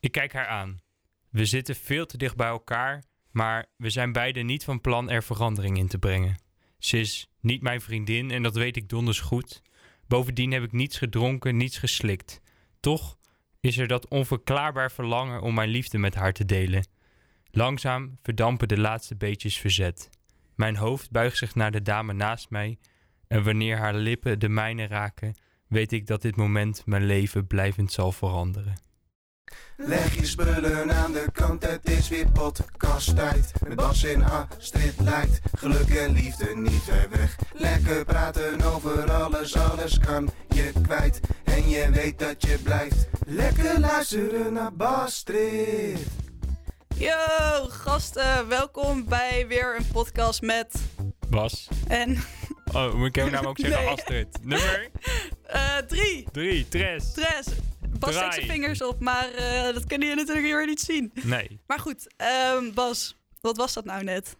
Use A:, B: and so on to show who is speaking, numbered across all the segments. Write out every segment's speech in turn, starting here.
A: Ik kijk haar aan. We zitten veel te dicht bij elkaar, maar we zijn beiden niet van plan er verandering in te brengen. Ze is niet mijn vriendin en dat weet ik donders goed. Bovendien heb ik niets gedronken, niets geslikt. Toch is er dat onverklaarbaar verlangen om mijn liefde met haar te delen. Langzaam verdampen de laatste beetjes verzet. Mijn hoofd buigt zich naar de dame naast mij en wanneer haar lippen de mijne raken, weet ik dat dit moment mijn leven blijvend zal veranderen.
B: Leg je spullen aan de kant, het is weer podcast tijd. Met Bas en Astrid lijkt geluk en liefde niet ver weg. Lekker praten over alles, alles kan je kwijt. En je weet dat je blijft. Lekker luisteren naar Bastrid.
C: Yo, gasten, welkom bij weer een podcast met.
A: Bas.
C: En
A: Oh, moet ik jouw naam ook zeggen?
C: Nee.
A: Astrid. Nummer
C: eh, drie,
A: 3, Tres.
C: Tres. Bas steekt zijn
A: Draai.
C: vingers op, maar eh, dat kunnen jullie natuurlijk hier weer niet zien.
A: Nee.
C: Maar goed, ehm, Bas, wat was dat nou net?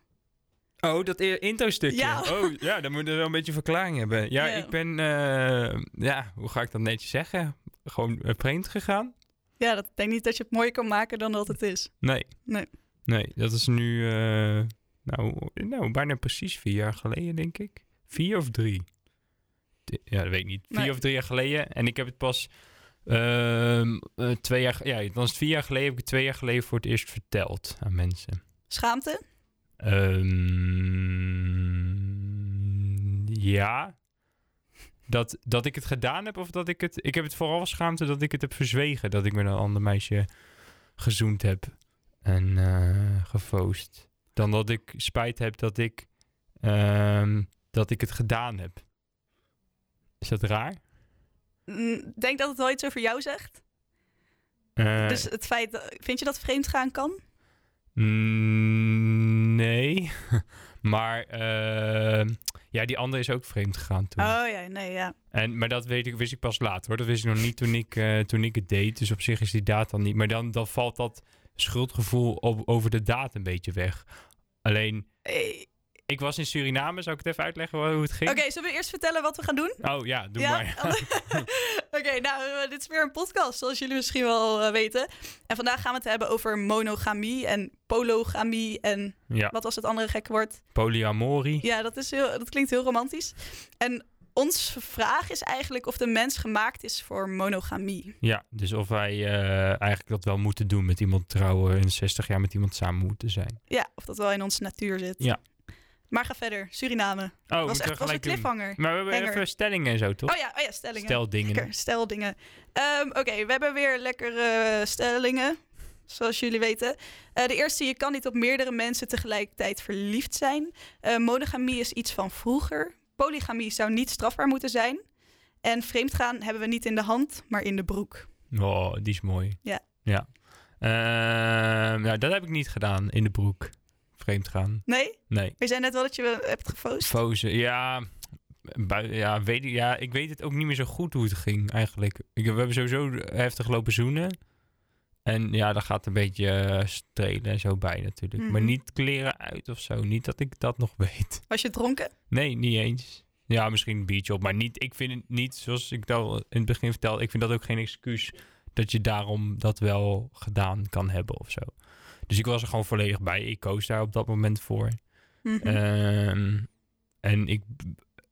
A: Oh, dat e- intro-stukje.
C: Ja.
A: Oh, ja, dan moet je wel een beetje verklaring hebben. Ja,
C: Ja.
A: ik ben, eh, ja, hoe ga ik dat netjes zeggen? Gewoon eh, vreemd gegaan?
C: Ja, dat ik denk niet dat je het mooier kan maken dan dat het is.
A: Nee.
C: Nee.
A: Nee, dat is nu, eh, nou, nou, bijna precies vier jaar geleden, denk ik. Vier of drie? D- Ja, dat weet ik niet. Vier
C: Nee.
A: of drie jaar geleden. En ik heb het pas ehm, eh, twee jaar, ge- ja, dan is het vier jaar geleden, heb ik het twee jaar geleden voor het eerst verteld aan mensen.
C: Schaamte?
A: Ehm, ja. Dat, dat ik het gedaan heb of dat ik het... Ik heb het vooral schaamte dat ik het heb verzwegen. Dat ik met een ander meisje gezoend heb. En eh gefoost. Dan dat ik spijt heb dat ik... ehm, dat ik het gedaan heb. Is dat raar?
C: Mm, Ik denk dat het wel iets over jou zegt.
A: Eh,
C: Dus het feit, dat- vind je dat vreemd gaan kan?
A: mm, nee. maar... ehm, ja, die andere is ook vreemd gegaan toen.
C: Oh ja, nee, ja.
A: En, maar dat weet ik, wist ik pas later hoor. Dat wist ik nog niet toen ik, eh, toen ik het deed. Dus op zich is die daad dan niet. Maar dan, dan valt dat schuldgevoel op, over de daad een beetje weg. Alleen,
C: Eh,
A: ik was in Suriname. Zou ik het even uitleggen hoe het ging?
C: Oké, zullen we eerst vertellen wat we gaan doen?
A: Oh ja, doe
C: ja?
A: maar.
C: Oké, nou, eh, dit is weer een podcast, zoals jullie misschien wel eh, weten. En vandaag gaan we het hebben over monogamie en pologamie en
A: Ja,
C: wat was het andere gekke woord?
A: polyamorie.
C: Ja, dat, is heel, dat klinkt heel romantisch. En onze vraag is eigenlijk of de mens gemaakt is voor monogamie.
A: Ja, dus of wij eh, eigenlijk dat wel moeten doen met iemand trouwen. En 60 jaar met iemand samen moeten zijn.
C: Ja, of dat wel in onze natuur zit.
A: Ja.
C: Maar ga verder, Suriname.
A: Oh,
C: was
A: moeten we
C: echt was een
A: gelijk doen.
C: cliffhanger.
A: Maar we hebben
C: Hanger.
A: even stellingen en zo, toch?
C: Oh ja, oh ja stellingen.
A: Stel dingen.
C: Lekker, Steldingen. Ehm, Oké, we hebben weer lekkere stellingen, zoals jullie weten. Eh, de eerste, je kan niet op meerdere mensen tegelijkertijd verliefd zijn. Eh, monogamie is iets van vroeger. Polygamie zou niet strafbaar moeten zijn. En vreemdgaan hebben we niet in de hand, maar in de broek.
A: Oh, die is mooi.
C: Ja.
A: Ja. Ehm, nou, dat heb ik niet gedaan in de broek. Vreemd gaan.
C: Nee?
A: Nee.
C: Je zei net wel dat je wel hebt gepost.
A: Fozen. Ja, bui- ja, weet, ik- ja, ik weet het ook niet meer zo goed hoe het ging eigenlijk. Ik, we hebben sowieso heftig lopen zoenen. En ja, daar gaat een beetje eh, strelen en zo bij natuurlijk. Maar
C: Mhm.
A: niet kleren uit of zo. Niet dat ik dat nog weet.
C: Was je dronken?
A: Nee, niet eens. Ja, misschien een biertje op, maar niet, ik vind het niet, zoals ik dat al in het begin vertelde, ik vind dat ook geen excuus dat je daarom dat wel gedaan kan hebben of zo. Dus ik was er gewoon volledig bij. Ik koos daar op dat moment voor.
C: Mhm.
A: Ehm, en ik,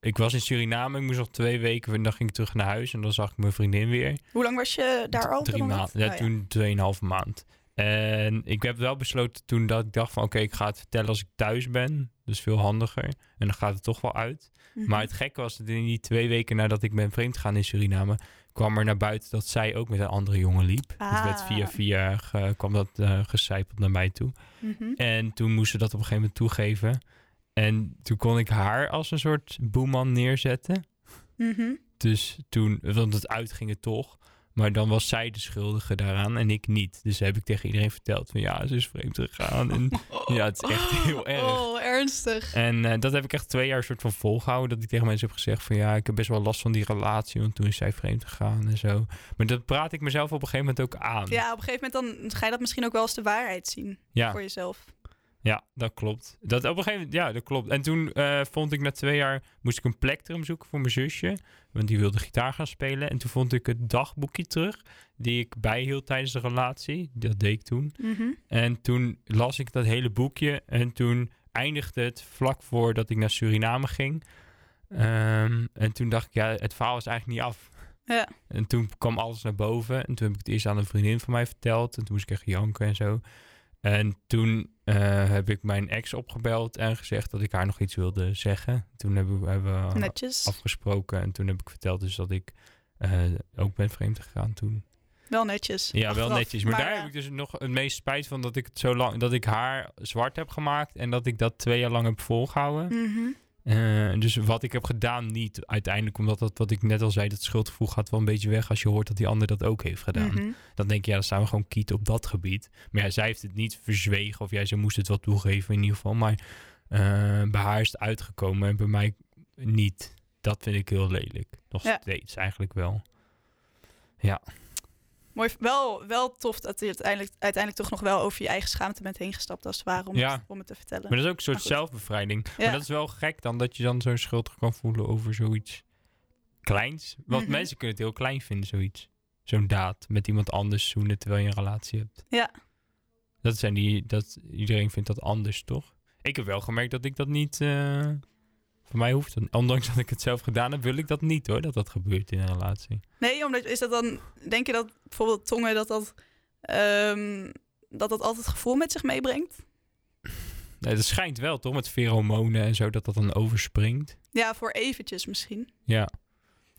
A: ik was in Suriname, ik moest nog twee weken, en dan ging ik terug naar huis en dan zag ik mijn vriendin weer.
C: Hoe lang was je daar al? op dat
A: Drie
C: moment?
A: maanden. Ja,
C: Oh
A: toen tweeënhalve maand. En ik heb wel besloten toen dat ik dacht van oké, ik ga het vertellen als ik thuis ben. Dat is veel handiger. En dan gaat het toch wel uit.
C: Mhm.
A: Maar het gekke was dat in die twee weken nadat ik ben vreemd gegaan in Suriname, kwam er naar buiten dat zij ook met een andere jongen liep. Dus Het werd
C: Ah.
A: via via eh, kwam dat eh gecijpeld naar mij toe.
C: Mhm.
A: En toen moest ze dat op een gegeven moment toegeven. En toen kon ik haar als een soort boeman neerzetten.
C: Mhm.
A: Dus toen, want het uitging het toch. Maar dan was zij de schuldige daaraan en ik niet. Dus heb ik tegen iedereen verteld van ja, ze is vreemd gegaan. En, ja, het is echt heel erg.
C: Oh, ernstig.
A: en eh, dat heb ik echt twee jaar soort van volgehouden. Dat ik tegen mensen heb gezegd van ja, ik heb best wel last van die relatie. Want toen is zij vreemd gegaan en zo. Maar dat praat ik mezelf op een gegeven moment ook aan.
C: Ja, op een gegeven moment dan ga je dat misschien ook wel als de waarheid zien
A: Ja.
C: voor jezelf.
A: Ja, dat klopt. Dat op een gegeven moment, ja, dat klopt. En toen eh, vond ik na twee jaar, moest ik een plektrum zoeken voor mijn zusje. Want die wilde gitaar gaan spelen. En toen vond ik het dagboekje terug, die ik bijhield tijdens de relatie. Dat deed ik toen.
C: Mhm.
A: En toen las ik dat hele boekje. En toen eindigde het vlak voordat ik naar Suriname ging. Ehm, en toen dacht ik, ja, het verhaal is eigenlijk niet af.
C: Ja.
A: En toen kwam alles naar boven. En toen heb ik het eerst aan een vriendin van mij verteld. En toen moest ik echt janken en zo. En toen eh, heb ik mijn ex opgebeld en gezegd dat ik haar nog iets wilde zeggen. Toen hebben we, hebben we
C: Netjes.
A: afgesproken. En toen heb ik verteld dus dat ik eh, ook ben vreemd gegaan toen.
C: Wel netjes.
A: Ja, wel
C: Achteraf.
A: netjes. Maar, daar
C: ja.
A: heb ik dus nog het meest spijt van dat ik het zo lang dat ik haar zwart heb gemaakt en dat ik dat twee jaar lang heb volgehouden.
C: Mhm.
A: Eh, dus wat ik heb gedaan, niet uiteindelijk, omdat dat wat ik net al zei, dat schuldgevoel gaat wel een beetje weg als je hoort dat die ander dat ook heeft gedaan.
C: Mhm.
A: Dan denk je, ja, dan staan we gewoon kiet op dat gebied. Maar ja, zij heeft het niet verzwegen of jij ze moest het wel toegeven in ieder geval. Maar eh, bij haar is het uitgekomen en bij mij niet. Dat vind ik heel lelijk. Nog
C: Ja.
A: steeds eigenlijk wel.
C: Mooi. Wel, wel tof dat je uiteindelijk, uiteindelijk toch nog wel over je eigen schaamte bent heen gestapt als het ware om,
A: Ja.
C: het, om het te vertellen.
A: Maar dat is ook een soort
C: Maar goed.
A: zelfbevrijding.
C: Ja.
A: Maar dat is wel gek dan dat je dan zo'n schuldig kan voelen over zoiets kleins. Want
C: Mhm.
A: mensen kunnen het heel klein vinden, zoiets. Zo'n daad met iemand anders zoenen terwijl je een relatie hebt.
C: Ja.
A: Dat zijn die, dat, iedereen vindt dat anders, toch? Ik heb wel gemerkt dat ik dat niet, eh, voor mij hoeft dat Ondanks dat ik het zelf gedaan heb, wil ik dat niet hoor, dat dat gebeurt in een relatie.
C: Nee, omdat is dat dan, denk je dat bijvoorbeeld tongen dat dat, ehm, dat, dat altijd gevoel met zich meebrengt?
A: Nee, dat schijnt wel toch, met pheromonen en zo, dat dat dan overspringt.
C: Ja, voor eventjes misschien.
A: Ja.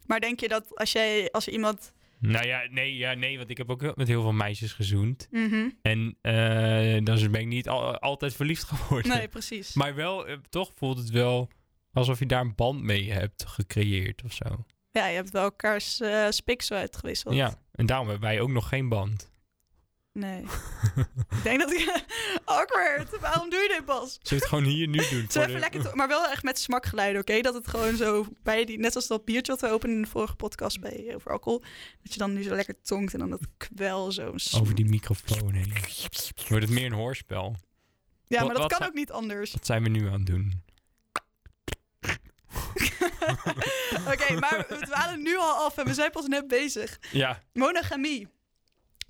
C: Maar denk je dat als jij, als er iemand.
A: Nou ja, nee, ja, nee, want ik heb ook heel- met heel veel meisjes gezoend.
C: Mhm.
A: En eh, dan ben ik niet al- altijd verliefd geworden.
C: Nee, precies.
A: Maar wel, eh, toch voelt het wel alsof je daar een band mee hebt gecreëerd of zo.
C: Ja, je hebt wel elkaars eh spiksel uitgewisseld.
A: Ja, en daarom hebben wij ook nog geen band.
C: Nee. ik denk dat ik. Awkward. Waarom doe je dit, Bas?
A: Zullen we het gewoon hier nu doen?
C: Zo
A: Voor
C: even
A: de-
C: lekker, to- maar wel echt met smakgeluiden, oké? Dat het gewoon zo bij die, net als dat biertje wat we openen in de vorige podcast bij eh, over alcohol, dat je dan nu zo lekker tongt en dan dat kwel zo. s-
A: Over die microfoon heen. Wordt het meer een hoorspel?
C: ja, maar
A: wat-
C: dat
A: wat
C: kan
A: zou-
C: ook niet anders.
A: Wat zijn we nu aan het doen?
C: Oké, maar we dwalen nu al af en we zijn pas net bezig.
A: Ja,
C: Monogamie.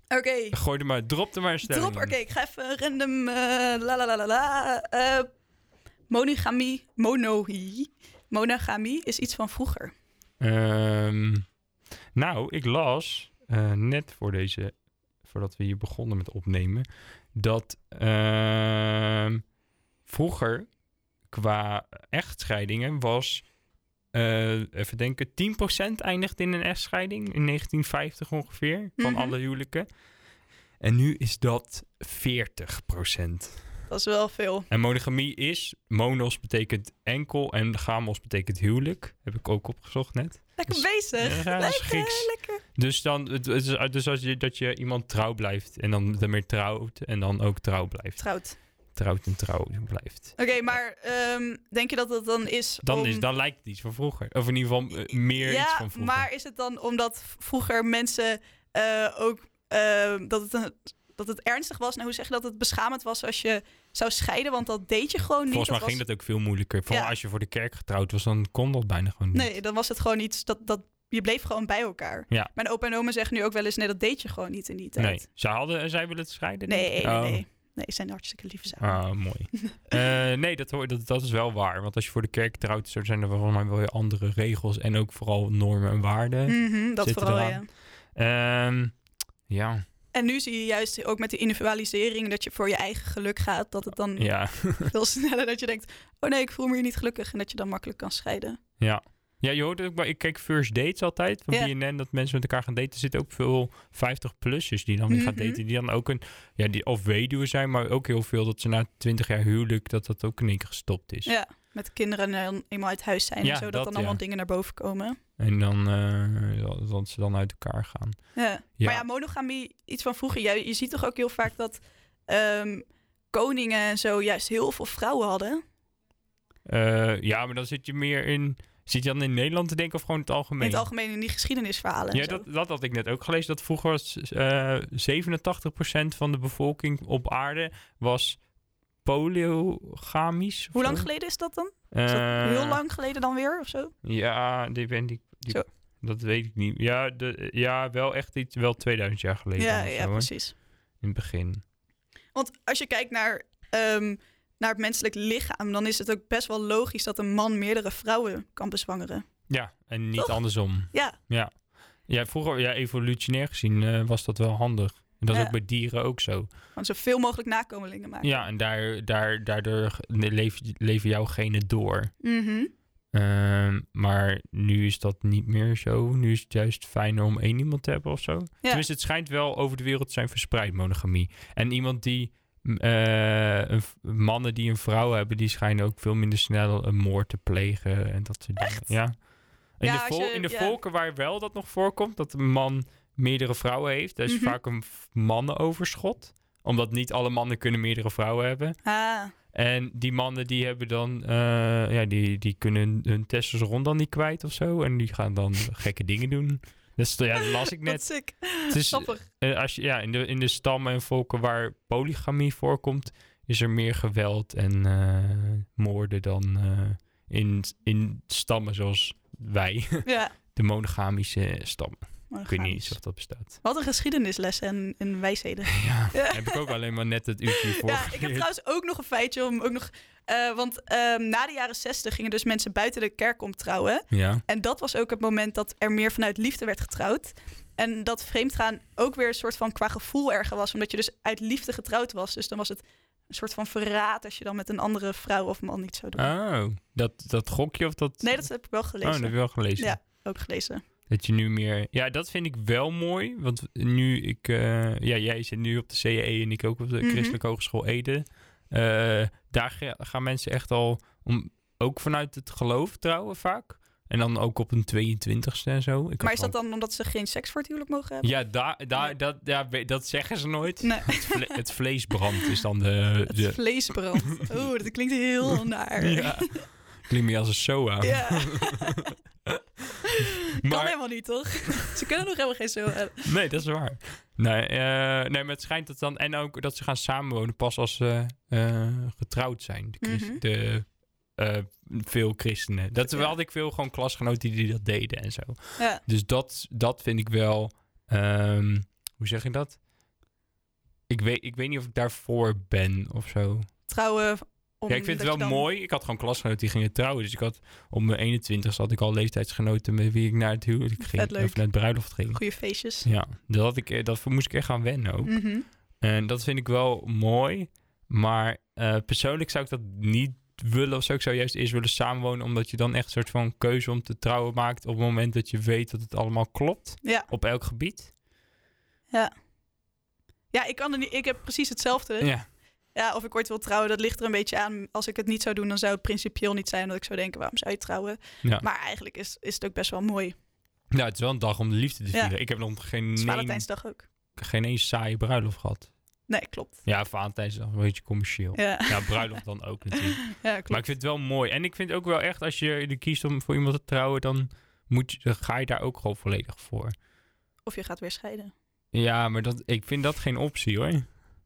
C: Oké.
A: gooi er maar, drop er maar een stelling
C: Drop, oké,
A: in.
C: ik ga even een random eh, la la la la la. eh, monogamie, monohi. Monogamie is iets van vroeger.
A: Ehm, nou, ik las eh, net voor deze, voordat we hier begonnen met opnemen, dat ehm, vroeger qua echtscheidingen was, eh, even denken, 10% eindigt in een echtscheiding in 1950 ongeveer van
C: Mhm.
A: alle huwelijken. En nu is dat 40%.
C: Dat is wel veel.
A: En monogamie is, monos betekent enkel en gamos betekent huwelijk. Heb ik ook opgezocht net.
C: Lekker
A: Dat
C: bezig.
A: Ja, dat is
C: lekker,
A: Grieks.
C: lekker.
A: Dus dan, het het is dus als je, dat je iemand trouw blijft en dan daarmee trouwt en dan ook trouw blijft.
C: Trouwd.
A: Trouwt en trouw blijft.
C: Oké, maar ehm, denk je dat dat dan is
A: Dan,
C: om-
A: is, dan lijkt het iets van vroeger. Of in ieder geval eh, meer
C: ja,
A: iets van vroeger.
C: maar is het dan omdat v- vroeger mensen eh, ook... eh, dat, het een- dat het ernstig was? Nou, hoe zeg je dat het beschamend was als je zou scheiden? Want dat deed je gewoon niet.
A: Volgens mij
C: was-
A: ging dat ook veel moeilijker. Vooral
C: Ja.
A: als je voor de kerk getrouwd was, dan kon dat bijna gewoon niet.
C: Nee, dan was het gewoon iets dat, dat je bleef gewoon bij elkaar.
A: Ja.
C: Mijn opa en oma zeggen nu ook wel eens: nee, dat deed je gewoon niet in die
A: Nee.
C: tijd.
A: Zij, hadden, eh, zij willen het scheiden?
C: Nee,
A: denk
C: nee,
A: ik?
C: nee.
A: Oh.
C: nee. Nee, ze zijn hartstikke lieve zaken.
A: Ah, mooi. Eh, nee, dat, hoor, dat, dat is wel waar. Want als je voor de kerk trouwt, zo zijn er volgens mij wel weer andere regels. En ook vooral normen en waarden.
C: Mhm, dat
A: Zitten
C: vooral, ja.
A: eraan. Ehm, ja,
C: En nu zie je juist ook met de individualisering dat je voor je eigen geluk gaat, dat het dan
A: ja.
C: veel sneller dat je denkt: oh nee, ik voel me hier niet gelukkig. En dat je dan makkelijk kan scheiden.
A: Ja, je hoort het ook bij, ik kijk first dates altijd van
C: Ja.
A: BNN, dat mensen met elkaar gaan daten. Er zitten ook veel 50-plussers die dan weer gaan
C: Mhm.
A: daten, die dan ook een, ja, die of weduwe zijn, maar ook heel veel dat ze na 20 jaar huwelijk, dat dat ook in één keer gestopt is.
C: Ja. Met kinderen dan eenmaal uit huis zijn
A: Ja,
C: en zo, dat,
A: dat,
C: dan
A: ja.
C: allemaal dingen naar boven komen.
A: En dan, eh, dat, dat ze dan uit elkaar gaan.
C: Ja.
A: Ja.
C: Maar ja, monogamie, iets van vroeger. Je, je ziet toch ook heel vaak dat ehm, koningen en zo juist heel veel vrouwen hadden.
A: Eh, ja, maar dan zit je meer in, zit je dan in Nederland te denken of gewoon in het algemeen?
C: In het algemeen in die geschiedenisverhalen.
A: ja,
C: en zo.
A: dat, dat had ik net ook gelezen, dat vroeger was eh 87% van de bevolking op aarde was polygamisch. of
C: Hoe lang
A: zo.
C: geleden is dat dan? Is dat
A: Eh,
C: heel lang geleden dan weer of zo?
A: Ja, die ben ik. die-
C: Zo.
A: dat weet ik niet. Ja, de, ja, wel echt iets, wel 2000 jaar geleden.
C: Ja,
A: of zo,
C: ja
A: hoor,
C: precies.
A: In het begin.
C: Want als je kijkt naar, ehm, naar het menselijk lichaam, dan is het ook best wel logisch dat een man meerdere vrouwen kan bezwangeren.
A: Ja, en niet
C: Toch?
A: andersom.
C: Ja,
A: Ja, vroeger, ja, evolutionair gezien eh, was dat wel handig. En dat is
C: Ja.
A: ook bij dieren ook zo.
C: gewoon zoveel mogelijk nakomelingen maken.
A: Ja, en daar, daar, daardoor ge- leef- leven jouw genen door.
C: Mhm.
A: Ehm, maar nu is dat niet meer zo. Nu is het juist fijner om één iemand te hebben of zo. Tenminste, het schijnt wel over de wereld te zijn verspreid, monogamie. En iemand die... m, eh, een v- mannen die een vrouw hebben, die schijnen ook veel minder snel een moord te plegen en dat soort dingen.
C: Echt?
A: Ja. In
C: Ja,
A: de,
C: als
A: vol-
C: je-
A: in de
C: ja.
A: volken waar wel dat nog voorkomt, dat een man meerdere vrouwen heeft, daar is
C: Mhm.
A: vaak een v- mannenoverschot. Omdat niet alle mannen kunnen meerdere vrouwen hebben.
C: Ah,
A: En die mannen die hebben dan, eh, ja, die, die kunnen hun testosteron dan niet kwijt of zo. En die gaan dan gekke dingen doen. Dat, is, ja, dat las ik
C: wat
A: net.
C: sick.
A: Het is,
C: Grappig.
A: eh, als je, ja, in, de, in de stammen en volken waar polygamie voorkomt, is er meer geweld en eh, moorden dan eh, in, in stammen zoals wij,
C: Ja.
A: de monogamische stammen. Ik weet niet eens
C: Monogamisch.
A: of dat bestaat.
C: Wat een geschiedenisles en, en wijsheden.
A: Ja,
C: Ja.
A: heb ik ook alleen maar net het uurtje voor
C: Ja, ik heb trouwens ook nog een feitje om ook nog. eh, want ehm, na de jaren zestig gingen dus mensen buiten de kerk om trouwen.
A: Ja.
C: En dat was ook het moment dat er meer vanuit liefde werd getrouwd. En dat vreemdgaan ook weer een soort van qua gevoel erger was. Omdat je dus uit liefde getrouwd was. Dus dan was het een soort van verraad als je dan met een andere vrouw of man niet zou doen.
A: Oh, dat, dat gokje of dat...
C: Nee, dat heb ik wel
A: Oh, dat
C: gelezen.
A: heb je wel gelezen.
C: Ja. Ook gelezen.
A: Dat je nu meer... Ja, dat vind ik wel mooi. Want nu ik... eh, ja, jij zit nu op de CEE en ik ook op de
C: Mhm.
A: Christelijke Hogeschool Ede. Eh, daar ga- gaan mensen echt al... Om, ook vanuit het geloof trouwen vaak. En dan ook op een 22ste en zo. Ik had
C: Maar is dat
A: gewoon-
C: dan omdat ze geen seks voor het huwelijk mogen hebben?
A: Ja, daar daar
C: Nee.
A: dat, ja, we- dat zeggen ze nooit.
C: Nee,
A: Het, vle- het vleesbrand is dan de...
C: het
A: de
C: vleesbrand. Oeh, dat klinkt heel naar.
A: ja. Klinkt meer als een SOA.
C: Ja. Kan
A: Maar-
C: helemaal niet, toch? Ze kunnen nog helemaal geen zo eh, hebben.
A: Nee, dat is waar. Nee, eh, nee, maar het schijnt dat dan... En ook dat ze gaan samenwonen pas als ze eh, getrouwd zijn. De, chris-
C: Mhm.
A: de, eh, veel christenen. Dat
C: Ja.
A: had ik veel gewoon klasgenoten die dat deden en zo.
C: Ja.
A: Dus dat, dat vind ik wel... ehm, hoe zeg je dat? Ik weet, ik weet niet of ik daarvoor ben of zo.
C: Trouwen om...
A: Ja, ik vind
C: dat
A: het wel
C: je dan-
A: mooi. Ik had gewoon klasgenoten die gingen trouwen. Dus ik had op mijn 21 had ik al leeftijdsgenoten met wie ik naar het huwelijk ging.
C: Vet leuk.
A: Of naar het bruiloft ging.
C: Goede feestjes.
A: Ja, dat, had ik, eh, dat moest ik echt gaan wennen ook.
C: Mhm.
A: En dat vind ik wel mooi. Maar eh, persoonlijk zou ik dat niet willen of zo. Ik zou juist eerst willen samenwonen. Omdat je dan echt een soort van keuze om te trouwen maakt. Op het moment dat je weet dat het allemaal klopt.
C: Ja.
A: Op elk gebied.
C: Ja, ik, kan er niet, ik heb precies hetzelfde. Ja.
A: Ja.
C: of ik ooit wil trouwen, dat ligt er een beetje aan. Als ik het niet zou doen, dan zou het principieel niet zijn. Dat ik zou denken, waarom zou je trouwen?
A: Ja.
C: Maar eigenlijk is, is het ook best wel mooi.
A: Nou, het is wel een dag om de liefde te
C: Ja.
A: vieren. Ik heb nog geen,
C: Het is
A: een-
C: Valentijnsdag ook.
A: geen eens saaie bruiloft gehad.
C: Nee, klopt.
A: Ja, Valentijnsdag een beetje commercieel. Ja,
C: Ja,
A: bruiloft dan ook natuurlijk.
C: ja klopt.
A: Maar ik vind het wel mooi. En ik vind ook wel echt, als je er kiest om voor iemand te trouwen, dan, moet je, dan ga je daar ook gewoon volledig voor.
C: Of je gaat weer scheiden.
A: Ja, maar dat, ik vind dat geen optie hoor.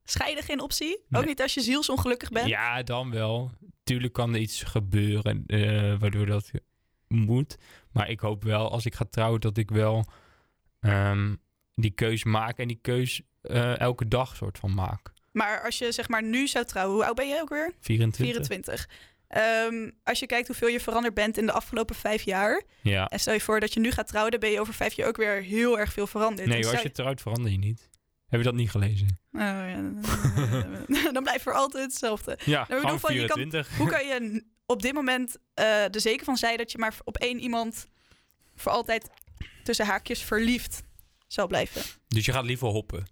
C: Scheiden geen optie?
A: Nee.
C: Ook niet als je zielsongelukkig bent?
A: Ja, dan wel. Tuurlijk kan er iets gebeuren eh, waardoor dat moet. Maar ik hoop wel, als ik ga trouwen, dat ik wel ehm, die keus maak en die keus eh, elke dag soort van maak.
C: Maar als je zeg maar nu zou trouwen, hoe oud ben je ook weer?
A: 24.
C: 24. Ehm, als je kijkt hoeveel je veranderd bent in de afgelopen vijf jaar.
A: Ja.
C: En stel je voor dat je nu gaat trouwen, dan ben je over vijf jaar ook weer heel erg veel
A: Nee,
C: veranderd. Dan
A: hoor, als
C: zou
A: je trouwt verander je niet. Heb je dat niet gelezen?
C: Oh, ja. dan blijft voor altijd hetzelfde.
A: Ja,
C: bedoel
A: gewoon
C: Nou, van, je kan-
A: 24.
C: Hoe kan je n- op dit moment eh er zeker van zijn dat je maar op één iemand voor altijd tussen haakjes verliefd zal blijven?
A: Dus je gaat liever hoppen.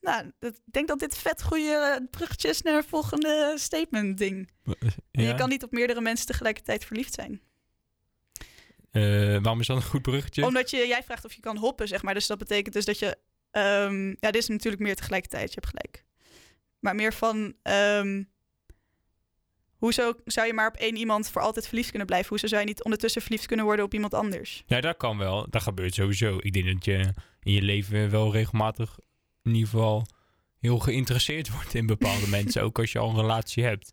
C: Nou, dat- ik denk dat dit vet goede eh, bruggetjes naar het volgende statement ding. En
A: Ja?
C: Je kan niet op meerdere mensen tegelijkertijd verliefd zijn.
A: Eh, waarom is dat een goed bruggetje?
C: Omdat je, jij vraagt of je kan hoppen, zeg maar. Dus dat betekent dus dat je... ehm, ja, dit is natuurlijk meer tegelijkertijd, je hebt gelijk. Maar meer van... ehm, hoezo zou je maar op één iemand voor altijd verliefd kunnen blijven? Hoezo zou je niet ondertussen verliefd kunnen worden op iemand anders?
A: Ja, dat kan wel. Dat gebeurt sowieso. Ik denk dat je in je leven wel regelmatig in ieder geval heel geïnteresseerd wordt in bepaalde mensen. Ook als je al een relatie hebt.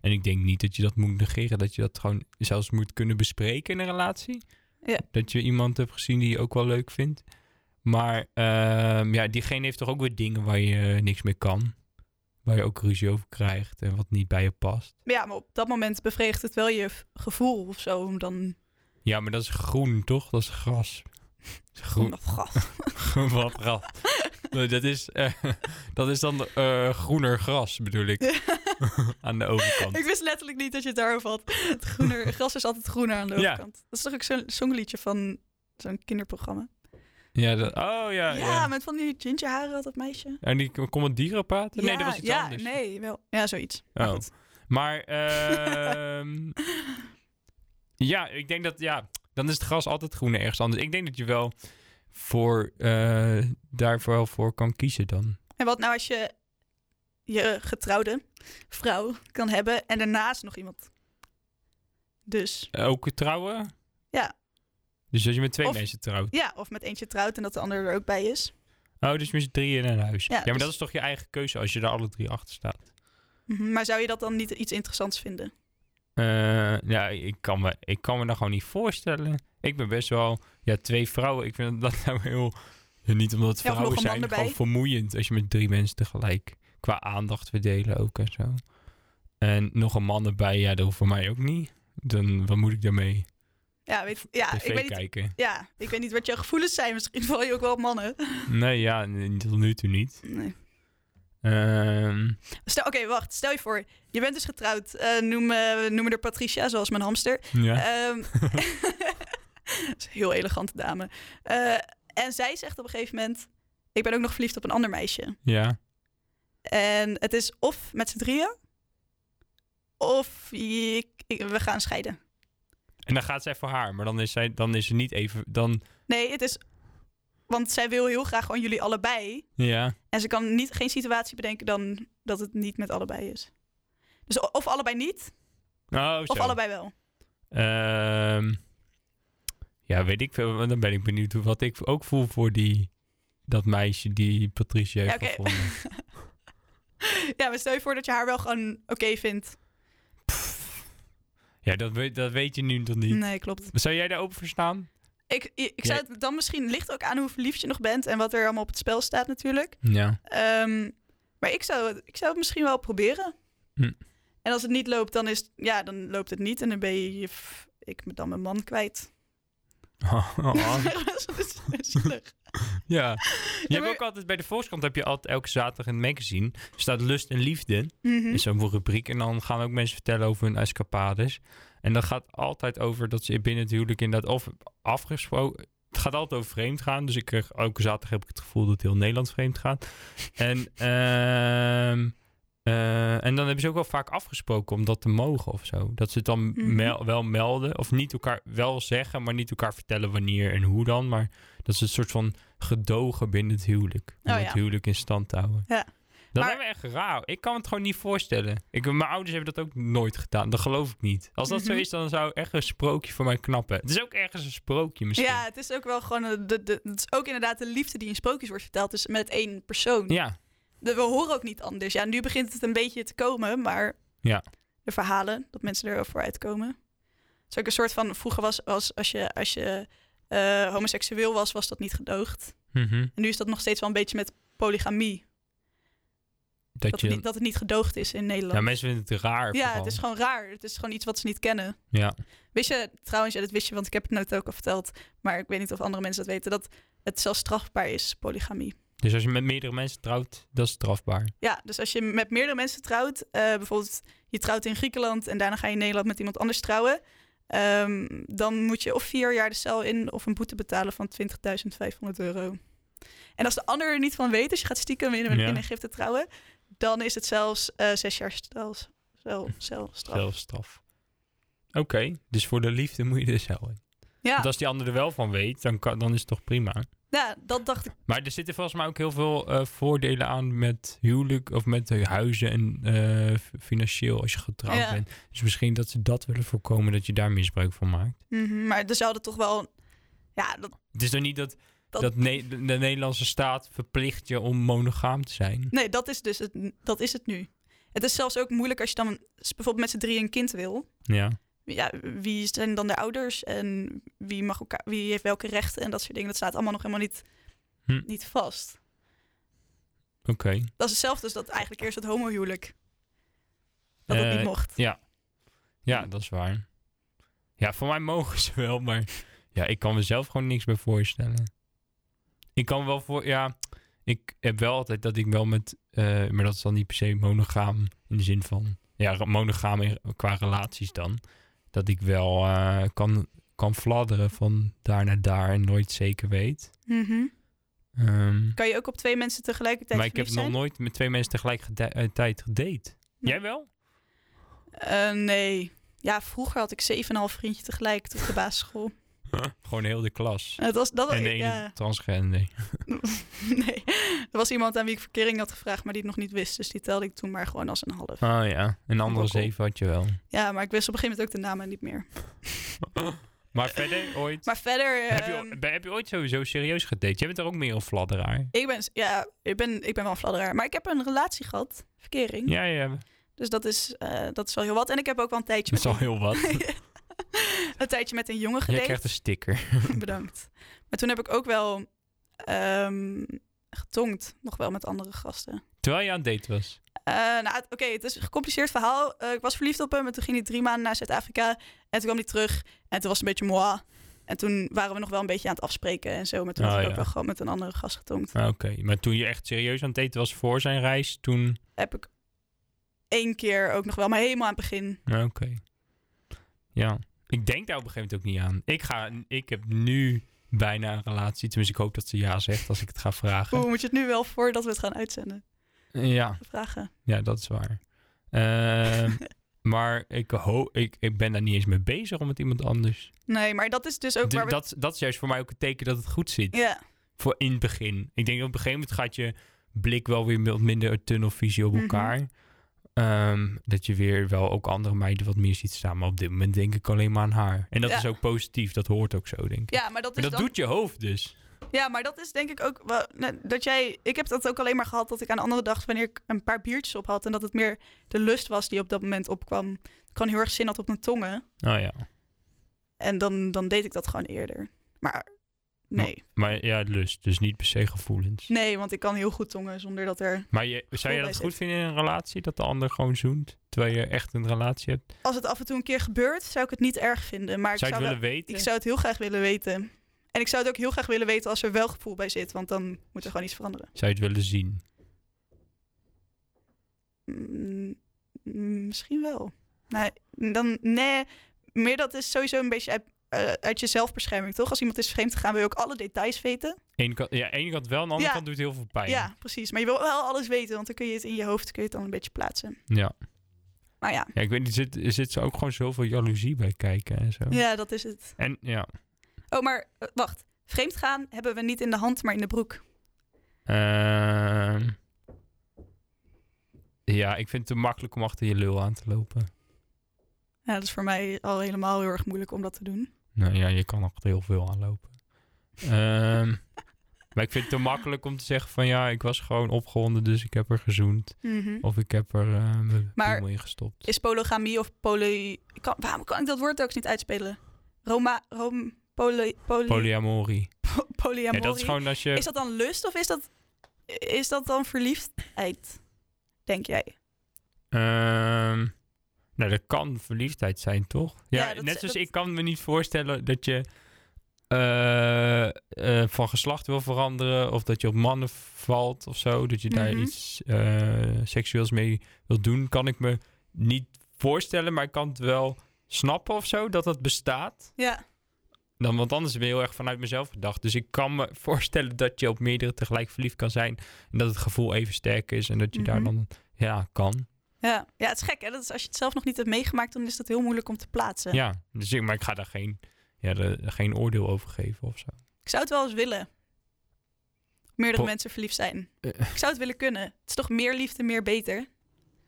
A: En ik denk niet dat je dat moet negeren. Dat je dat gewoon zelfs moet kunnen bespreken in een relatie.
C: Ja.
A: Dat je iemand hebt gezien die je ook wel leuk vindt. Maar ehm, ja, diegene heeft toch ook weer dingen waar je eh, niks mee kan. Waar je ook ruzie over krijgt en wat niet bij je past.
C: Maar ja, maar op dat moment bevredigt het wel je v- gevoel of zo. om Dan
A: Ja, maar dat is groen, toch? Dat is gras. Dat is groen.
C: Of gas.
A: Wat gras. Nee, Dat is, eh, dat is dan eh, groener gras, bedoel ik. Aan de overkant.
C: Ik wist letterlijk niet dat je het daarover had. Het groener, gras is altijd groener aan de
A: Ja.
C: overkant. Dat is toch ook zo'n zongliedje van zo'n kinderprogramma?
A: Ja, dat- oh ja.
C: Ja,
A: ja.
C: met van die gingerharen had dat meisje.
A: En die kon het dieren praten? nee, dat was iets
C: ja,
A: anders.
C: nee, wel. Ja, zoiets. Maar
A: Oh.
C: goed.
A: Maar, ehm, ja, ik denk dat, ja, dan is het gras altijd groen en ergens anders. Ik denk dat je wel voor, eh, daarvoor wel voor kan kiezen dan.
C: En wat nou als je je getrouwde vrouw kan hebben en daarnaast nog iemand? Dus
A: Ook trouwen?
C: Ja.
A: Dus als je met twee
C: Of-
A: mensen trouwt.
C: ja, of met eentje trouwt en dat de ander er ook bij is.
A: Oh, dus met z'n drieën in een huis. Ja,
C: Ja,
A: maar
C: dus-
A: dat is toch je eigen keuze als je er alle drie achter staat.
C: Mhm, Maar zou je dat dan niet iets interessants vinden?
A: Eh, ja, ik kan, me, ik kan me dat gewoon niet voorstellen. Ik ben best wel... Ja, twee vrouwen, ik vind dat nou heel... ja, niet omdat het
C: Ja, of nog
A: vrouwen
C: een man
A: zijn,
C: erbij.
A: gewoon vermoeiend. Als je met drie mensen tegelijk qua aandacht verdelen ook en zo. En nog een man erbij, ja, dat hoeft voor mij ook niet. Dan, wat moet ik daarmee?
C: Ja, weet, ja, Ah, ik
A: TV
C: weet niet.
A: kijken?
C: Ja, ik weet niet wat jouw gevoelens zijn. Misschien val je ook wel op mannen.
A: Nee, ja, n- tot nu toe niet.
C: Nee.
A: Ehm,
C: Stel- Oké, wacht. Stel je voor, je bent dus getrouwd. Eh, noem, eh, we noemen er Patricia, zoals mijn hamster.
A: ja.
C: Ehm, dat is een heel elegante dame. Eh, en zij zegt op een gegeven moment... Ik ben ook nog verliefd op een ander meisje.
A: ja.
C: En het is of met z'n drieën... of ik- ik- we gaan scheiden.
A: En dan gaat zij voor haar, maar dan is, zij, dan is ze niet even... Dan,
C: Nee, het is... Want zij wil heel graag gewoon jullie allebei.
A: ja.
C: En ze kan niet, geen situatie bedenken dan dat het niet met allebei is. Dus o- of allebei niet,
A: Oh,
C: of
A: zo.
C: allebei wel.
A: Ehm, ja, weet ik veel. want Dan ben ik benieuwd hoe- wat ik ook voel voor die, dat meisje die Patricia heeft
C: Ja, oké.
A: gevonden.
C: Ja, maar stel je voor dat je haar wel gewoon oké vindt.
A: Ja, dat weet, dat weet je nu toch niet.
C: Nee, klopt.
A: Zou jij daar open voor staan?
C: Ik, ik ik zou het dan misschien ligt ook aan hoe verliefd je nog bent en wat er allemaal op het spel staat natuurlijk.
A: Ja.
C: Ehm, maar ik zou, het- ik zou het misschien wel proberen.
A: Hm.
C: En als het niet loopt, dan is het- ja, dan loopt het niet en dan ben je, je f- ik ben dan mijn man kwijt.
A: Oh.
C: dat is zielig.
A: ja. Je hebt
C: maar-
A: ook altijd bij de Volkskrant heb je altijd elke zaterdag in het magazine staat lust en liefde.
C: Mhm.
A: Is Dus zo'n rubriek. En dan gaan ook mensen vertellen over hun escapades. En dat gaat altijd over dat ze binnen het huwelijk inderdaad of afgesproken. Het gaat altijd over vreemd gaan. Dus ik kreeg elke zaterdag heb ik het gevoel dat heel Nederland vreemd gaat. En, ehm, eh, en dan hebben ze ook wel vaak afgesproken om dat te mogen of zo. Dat ze het dan
C: Mhm.
A: mel- wel melden. Of niet elkaar wel zeggen, maar niet elkaar vertellen wanneer en hoe dan. Maar dat is een soort van gedogen binnen het huwelijk. Om
C: Oh,
A: het
C: ja.
A: huwelijk in stand te houden.
C: Ja.
A: Dat
C: Maar-
A: lijkt me echt raar. Ik kan het gewoon niet voorstellen. Ik, mijn ouders hebben dat ook nooit gedaan. Dat geloof ik niet. Als dat
C: Mhm.
A: zo is, dan zou echt een sprookje voor mij knappen. Het is ook ergens een sprookje misschien.
C: Ja, het is ook wel gewoon. eh, De, de, het is ook inderdaad de liefde die in sprookjes wordt verteld. Dus met één persoon.
A: Ja.
C: De- We horen ook niet anders. Ja, nu begint het een beetje te komen, maar.
A: Ja.
C: De verhalen, dat mensen erover uitkomen. Het is ook een soort van. Vroeger was, was als je, als je eh, homoseksueel was, was dat niet gedoogd.
A: Mhm.
C: En nu is dat nog steeds wel een beetje met polygamie.
A: Dat,
C: Dat,
A: je...
C: het, niet, dat het niet gedoogd is in Nederland.
A: Ja, mensen vinden het raar.
C: Ja,
A: vooral.
C: het is gewoon raar. Het is gewoon iets wat ze niet kennen.
A: Ja.
C: Wist je, trouwens, ja, dat wist je, want ik heb het net ook al verteld. Maar ik weet niet of andere mensen dat weten, dat het zelfs strafbaar is, polygamie.
A: Dus als je met meerdere mensen trouwt, dat is strafbaar.
C: Ja, dus als je met meerdere mensen trouwt, eh, bijvoorbeeld je trouwt in Griekenland en daarna ga je in Nederland met iemand anders trouwen, ehm, dan moet je of vier jaar de cel in of een boete betalen van 20.500 euro. En als de ander er niet van weet, dus je gaat stiekem in een
A: Ja.
C: in een gifte trouwen, dan is het zelfs eh, zes jaar cel, cel, celstraf.
A: Zelfstraf. Oké, dus voor de liefde moet je er zelf in.
C: Ja,
A: Want als die ander er wel van weet, dan, kan, dan is het toch prima.
C: ja, dat dacht ik.
A: Maar er zitten volgens mij ook heel veel eh, voordelen aan met huwelijk of met eh, huizen en eh, f- financieel als je getrouwd
C: Ja.
A: bent. Dus misschien dat ze dat willen voorkomen dat je daar misbruik van maakt.
C: Mhm, maar er zouden toch wel... Ja, dat,
A: Het is dan niet dat
C: Dat-
A: dat ne- de, de Nederlandse staat verplicht je om monogaam te zijn.
C: Nee, dat is dus het, dat is het nu. Het is zelfs ook moeilijk als je dan s- bijvoorbeeld met z'n drieën een kind wil.
A: Ja.
C: Ja, wie zijn dan de ouders en wie, mag elkaar, wie heeft welke rechten en dat soort dingen. Dat staat allemaal nog helemaal niet,
A: Hm.
C: niet vast.
A: Oké.
C: Dat is hetzelfde als dat eigenlijk eerst het homohuwelijk. Dat dat
A: Eh,
C: niet mocht.
A: Ja, dat is waar. Ja, voor mij mogen ze wel, maar ja, ik kan mezelf gewoon niks meer voorstellen. Ik kan wel voor, ja, ik heb wel altijd dat ik wel met, eh, maar dat is dan niet per se monogaam in de zin van, ja, ra- monogaam in- qua relaties dan. Dat ik wel eh, kan, kan fladderen van daar naar daar en nooit zeker weet.
C: Mhm.
A: Ehm,
C: Kan je ook op twee mensen tegelijkertijd
A: maar ik heb
C: verliefd
A: nog
C: zijn?
A: nooit met twee mensen tegelijkertijd gedate. Jij wel?
C: Eh, nee. Ja, vroeger had ik 7,5 vriendje tegelijk op de basisschool.
A: Gewoon heel de klas.
C: Het was, dat,
A: en de ene
C: ja,
A: transgender.
C: nee. Er was iemand aan wie ik verkering had gevraagd, maar die het nog niet wist. Dus die telde ik toen maar gewoon als een half.
A: Oh ja, een andere
C: Wokkel.
A: zeven had je wel.
C: Ja, maar ik wist op een gegeven moment ook de namen niet meer.
A: Maar verder ooit?
C: Maar verder...
A: heb, je,
C: ehm,
A: ben- heb je ooit sowieso serieus gedate? Jij bent er ook meer een fladderaar.
C: ik, ben, ja, ik, ben, ik ben wel een fladderaar. Maar ik heb een relatie gehad. Verkering.
A: Ja, ja,
C: Dus dat is, eh, dat is wel heel wat. En ik heb ook wel een tijdje,
A: dat is
C: met
A: al
C: een,
A: heel wat.
C: een tijdje met een jongen
A: Jij
C: gedate.
A: krijgt een sticker.
C: Bedankt. Maar toen heb ik ook wel ehm getongd, nog wel met andere gasten.
A: Terwijl je aan het daten was.
C: Eh, nou, het- oké, het is een gecompliceerd verhaal. Eh, ik was verliefd op hem en toen ging hij drie maanden naar Zuid-Afrika. En toen kwam hij terug en toen was het een beetje moi. En toen waren we nog wel een beetje aan het afspreken en zo. Maar toen
A: Ah,
C: had ik
A: ja.
C: ook wel gewoon met een andere gast getongd.
A: Ah, Oké, maar toen je echt serieus aan het daten was voor zijn reis, toen...
C: Heb ik één keer ook nog wel, maar helemaal aan het begin.
A: Ah, Oké. Ja, ik denk daar op een gegeven moment ook niet aan. Ik, ga, ik heb nu bijna een relatie. Tenminste, ik hoop dat ze ja zegt als ik het ga vragen.
C: Hoe moet je het nu wel voordat we het gaan uitzenden?
A: Ja,
C: Vragen.
A: Ja, dat is waar. Ehm, maar ik, ho ik, ik ben daar niet eens mee bezig om met iemand anders.
C: Nee, maar dat is dus ook
A: Dus
C: waar we...
A: dat, dat is juist voor mij ook het teken dat het goed zit.
C: Ja,
A: Voor in het begin. Ik denk op een gegeven moment gaat je blik wel weer wat minder tunnelvisie op
C: Mhm.
A: elkaar. Ehm, dat je weer wel ook andere meiden wat meer ziet staan. Maar op dit moment denk ik alleen maar aan haar. En dat
C: Ja.
A: is ook positief. Dat hoort ook zo, denk ik.
C: ja, maar dat is
A: maar dat
C: dan...
A: doet je hoofd dus.
C: Ja, maar dat is denk ik ook wel, nou, dat jij. Ik heb dat ook alleen maar gehad dat ik aan andere dacht wanneer ik een paar biertjes op had en dat het meer de lust was die op dat moment opkwam. Ik gewoon heel erg zin had op mijn tongen
A: Oh ja.
C: en dan, dan deed ik dat gewoon eerder. Maar nee,
A: Maar ja, lust. Dus niet per se gevoelens.
C: nee, want ik kan heel goed tongen zonder dat er.
A: Maar je, zou je
C: Hm. bij
A: dat
C: zit.
A: goed vinden in een relatie? Dat de ander gewoon zoent? Terwijl je echt een relatie hebt?
C: Als het af en toe een keer gebeurt, zou ik het niet erg vinden. Maar ik
A: zou
C: zou,
A: je het
C: wel-
A: willen weten?
C: ik zou het heel graag willen weten. En ik zou het ook heel graag willen weten als er wel gevoel bij zit, want dan moet er gewoon iets veranderen.
A: Zou je het willen zien?
C: Mm, mm, misschien wel. Nee, dan, nee, meer dat is sowieso een beetje uit, eh, uit je zelfbescherming, toch? Als iemand is vreemd gegaan, wil je ook alle details weten.
A: Ene kant, ja, ene kant wel, aan de andere
C: Ja.
A: kant doet heel veel pijn.
C: Ah, Ja, precies. Maar je wil wel alles weten, want dan kun je het in je hoofd kun je het dan een beetje plaatsen.
A: ja.
C: Maar ja,
A: Ja, ik weet niet, zit, zit er ook gewoon zoveel jaloezie bij kijken en zo?
C: ja dat is het.
A: En ja,
C: Oh, maar eh, wacht. Vreemd gaan hebben we niet in de hand, maar in de broek.
A: ehm, ja, ik vind het te makkelijk om achter je lul aan te lopen.
C: Ja, dat is voor mij al helemaal heel erg moeilijk om dat te doen.
A: Nou ja, je kan achter heel veel aanlopen. Ehm, maar ik vind het te makkelijk om te zeggen van ja, ik was gewoon opgewonden, dus ik heb er gezoend. Of ik heb er eh, mijn
C: Maar-
A: piemel in gestopt.
C: Is pologamie of poly... ik Kan, waarom kan ik dat woord ook eens niet uitspelen? Roma... Rom, poly, poly,
A: Polyamorie.
C: po-
A: Ja,
C: polyamorie.
A: dat is gewoon als je...
C: Is dat dan lust of is dat, is dat dan verliefdheid? Denk jij?
A: Ehm, nou, dat kan verliefdheid zijn, toch? Ja,
C: Ja, dat
A: net
C: is-
A: zoals
C: dat-
A: ik kan me niet voorstellen dat je eh, eh, van geslacht wil veranderen... of dat je op mannen valt of zo. Dat je daar
C: Mhm.
A: iets eh, seksueels mee wilt doen. Kan ik me niet voorstellen, maar ik kan het wel snappen of zo... dat dat bestaat.
C: Ja.
A: Dan, want anders ben je heel erg vanuit mezelf gedacht. Dus ik kan me voorstellen dat je op meerdere tegelijk verliefd kan zijn... en dat het gevoel even sterk is en dat je
C: Mhm.
A: daar dan... Ja, kan.
C: Ja. ja, het is gek hè. Dat is, als je het zelf nog niet hebt meegemaakt, dan is dat heel moeilijk om te plaatsen.
A: Ja, dus ik, maar ik ga daar geen, ja, de- geen oordeel over geven of zo.
C: Ik zou het wel eens willen. Meerdere
A: Po-
C: mensen verliefd zijn.
A: Eh.
C: Ik zou het willen kunnen. Het is toch meer liefde, meer beter?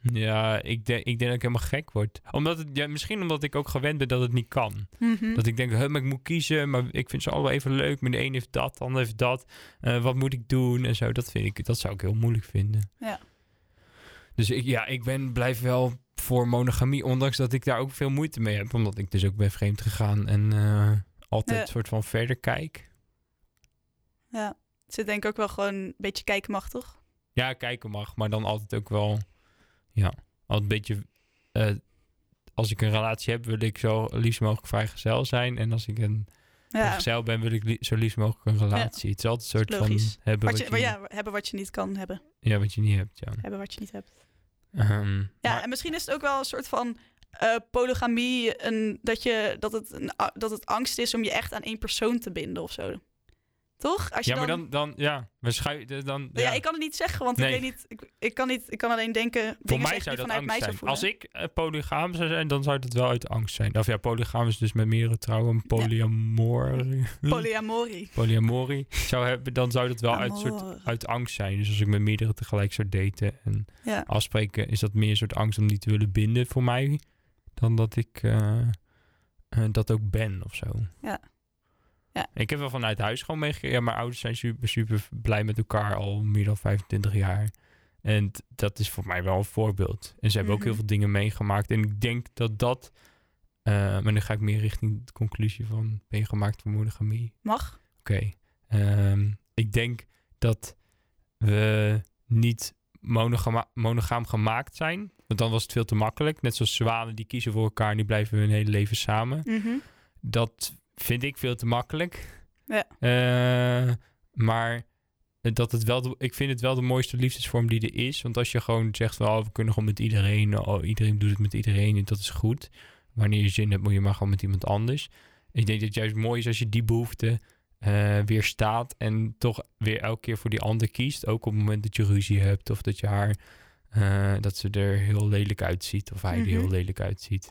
A: Ja, ik denk, ik denk dat ik helemaal gek word. Omdat het, ja, misschien omdat ik ook gewend ben dat het niet kan.
C: Mhm.
A: Dat ik denk, "Huh, maar ik moet kiezen, maar ik vind ze allemaal even leuk. Maar de een heeft dat, de ander heeft dat. Eh, wat moet ik doen en zo. Dat, vind ik, dat zou ik heel moeilijk vinden.
C: Ja.
A: Dus ik, ja, ik ben, blijf wel voor monogamie. Ondanks dat ik daar ook veel moeite mee heb. Omdat ik dus ook ben vreemd gegaan en eh, altijd
C: Ja.
A: een soort van verder kijk.
C: Ja. Ze denk ik ook wel gewoon een beetje kijkmachtig.
A: Ja, kijken mag, maar dan altijd ook wel... Ja, altijd een beetje... eh, als ik een relatie heb, wil ik zo liefst mogelijk vrijgezel zijn. En als ik een
C: Ja.
A: vrijgezel ben, wil ik li- zo liefst mogelijk een relatie. Het is altijd een soort
C: Logisch.
A: van hebben
C: Wat
A: wat,
C: je, maar ja, hebben wat je niet kan hebben.
A: Ja, wat je niet hebt, ja.
C: Hebben wat je niet hebt.
A: Ehm,
C: Ja,
A: maar-
C: en misschien is het ook wel een soort van eh, polygamie. Een, dat, je, dat, het een, a- dat het angst is om je echt aan één persoon te binden of zo. Toch? Als je
A: ja, maar dan, dan ja, we schui- de- dan,
C: Nou Ja, ik kan het niet zeggen, want
A: Nee.
C: ik weet niet. Ik, ik kan niet. Ik kan alleen denken.
A: Voor
C: dingen
A: mij
C: zeggen
A: zou
C: die
A: dat
C: vanuit
A: angst
C: mij zou
A: zijn.
C: voelen.
A: Als ik eh, polygaam zou zijn, dan zou dat wel uit angst zijn. Of ja, polygaam is dus met meerdere trouwen, polyamor,
C: Polyamorie.
A: polyamorie zou hebben, dan zou dat wel uit, soort,
C: Amor.
A: uit angst zijn. Dus als ik met meerdere tegelijk zou daten en
C: Ja.
A: afspreken, is dat meer een soort angst om die te willen binden voor mij, dan dat ik eh, eh, dat ook ben of zo.
C: Ja. Ja.
A: Ik heb wel vanuit huis gewoon meegekregen. Ja, mijn ouders zijn super, super blij met elkaar al meer dan 25 jaar. En t- dat is voor mij wel een voorbeeld. En ze hebben ook
C: Mhm.
A: heel veel dingen meegemaakt. En ik denk dat dat... eh, maar nu ga ik meer richting de conclusie van... Ben je gemaakt voor monogamie?
C: Mag.
A: Oké. Ehm, ik denk dat we niet monogama- monogaam gemaakt zijn. Want dan was het veel te makkelijk. Net zoals zwanen die kiezen voor elkaar en die blijven hun hele leven samen.
C: Mhm.
A: Dat vind ik veel te makkelijk.
C: Ja.
A: Eh, maar dat het wel de- ik vind het wel de mooiste liefdesvorm die er is. Want als je gewoon zegt, van, oh, we kunnen gewoon met iedereen. Oh, iedereen doet het met iedereen en dat is goed. Wanneer je zin hebt, moet je maar gewoon met iemand anders. Ik denk dat het juist mooi is als je die behoefte eh, weer staat. En toch weer elke keer voor die ander kiest. Ook op het moment dat je ruzie hebt. Of dat je haar, eh, dat ze er heel lelijk uitziet. Of hij
C: Mhm.
A: er heel lelijk uitziet.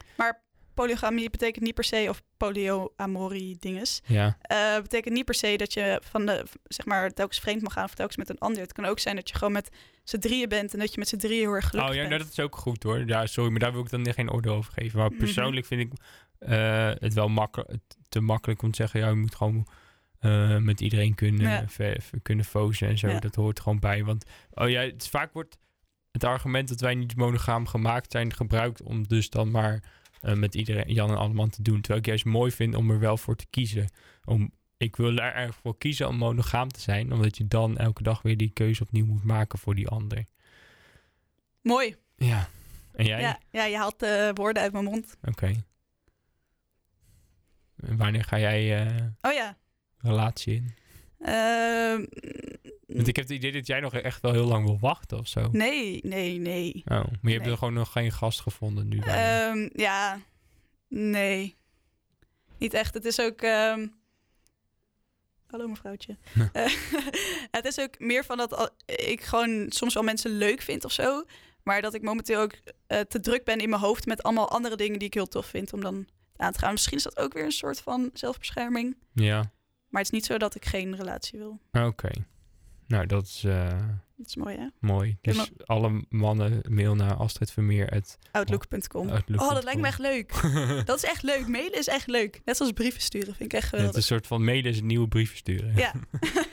C: Polygamie betekent niet per se of polyamorie dinges.
A: Ja.
C: Eh betekent niet per se dat je van de zeg maar telkens vreemd mag gaan of telkens met een ander. Het kan ook zijn dat je gewoon met z'n drieën bent en dat je met z'n drieën heel erg gelukkig
A: oh ja, nou,
C: bent.
A: dat is ook goed hoor. Ja, sorry, maar daar wil ik dan geen oordeel over geven. Maar
C: Mhm.
A: persoonlijk vind ik eh, het wel makke- te makkelijk om te zeggen, ja, je moet gewoon eh, met iedereen kunnen,
C: Ja.
A: ver- ver- kunnen fozen en zo.
C: Ja.
A: Dat hoort gewoon bij. Want oh ja, het is, vaak wordt het argument dat wij niet monogaam gemaakt zijn gebruikt om dus dan maar eh, met iedereen, Jan en Alleman te doen. Terwijl ik juist mooi vind om er wel voor te kiezen. Om, ik wil er erg voor kiezen om monogaam te zijn, omdat je dan elke dag weer die keuze opnieuw moet maken voor die ander.
C: Mooi.
A: Ja. En jij?
C: Ja, ja, je haalt de woorden uit mijn mond.
A: Oké. En Wanneer ga jij eh,
C: Oh ja.
A: relatie
C: Mm.
A: in?
C: Ehm,
A: Want ik heb het idee dat jij nog echt wel heel lang wil wachten of zo.
C: nee, nee, nee.
A: Oh, maar je hebt
C: Nee.
A: er gewoon nog geen gast gevonden nu. bijna.
C: Ehm, ja, nee. Niet echt. Het is ook. ehm, Hallo mevrouwtje.
A: Ja.
C: Eh, het is ook meer van dat al- ik gewoon soms wel mensen leuk vind of zo. Maar dat ik momenteel ook eh, te druk ben in mijn hoofd met allemaal andere dingen die ik heel tof vind om dan aan te gaan. Misschien is dat ook weer een soort van zelfbescherming.
A: Ja.
C: Maar het is niet zo dat ik geen relatie wil.
A: Oké. Nou, dat is eh,
C: Dat is mooi, hè?
A: mooi. Dus alle mannen mail naar Astrid Vermeer. Het
C: Outlook.com. Oh, dat lijkt me echt leuk. Dat is echt leuk. Mailen is echt leuk. Net zoals brieven sturen vind ik
A: Het
C: echt
A: is
C: geweldig.
A: een soort van mailen is een nieuwe brief versturen.
C: Ja.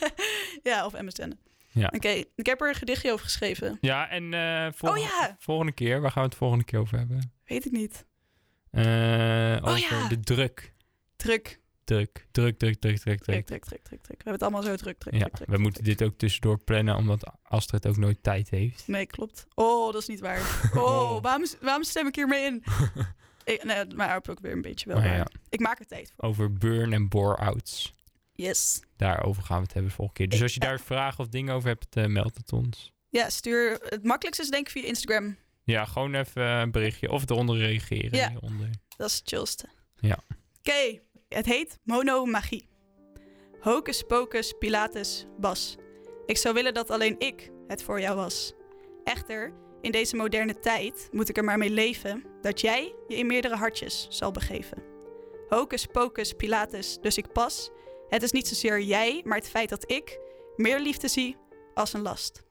C: ja, of MSN.
A: Ja.
C: Oké, ik heb er een gedichtje over geschreven.
A: Ja, en eh, vol-
C: Oh ja,
A: volgende keer. Waar gaan we het volgende keer over hebben?
C: weet ik niet.
A: Eh,
C: Oh
A: over
C: ja.
A: de druk.
C: Druk,
A: Druk, druk, druk, druk, druk, druk.
C: druk, druk, druk, druk, druk. We hebben het allemaal zo druk, druk,
A: Ja,
C: druk, druk.
A: we moeten dit ook tussendoor plannen, omdat Astrid ook nooit tijd heeft.
C: Nee, klopt. Oh, dat is niet waar. Oh,
A: Oh.
C: waarom, waarom stem ik hiermee in? Ik, nee, maar heb ik ook weer een beetje wel.
A: Maar
C: waar.
A: Oh, ja,
C: Ik maak er tijd voor.
A: over burn- en bore-outs.
C: Yes.
A: Daarover gaan we het hebben volgende keer. Dus als je
C: Ja.
A: daar vragen of dingen over hebt, eh, meld het ons.
C: Ja, stuur. Het makkelijkste is denk ik via Instagram.
A: Ja, gewoon even een berichtje. Of eronder reageren.
C: Ja.
A: Hieronder.
C: Dat is het chillste.
A: Ja.
C: Oké, het heet monomagie. Hocus pocus pilatus bas. Ik zou willen dat alleen ik het voor jou was. Echter, in deze moderne tijd moet ik er maar mee leven dat jij je in meerdere hartjes zal begeven. Hocus pocus pilatus, dus ik pas. Het is niet zozeer jij, maar het feit dat ik meer liefde zie als een last.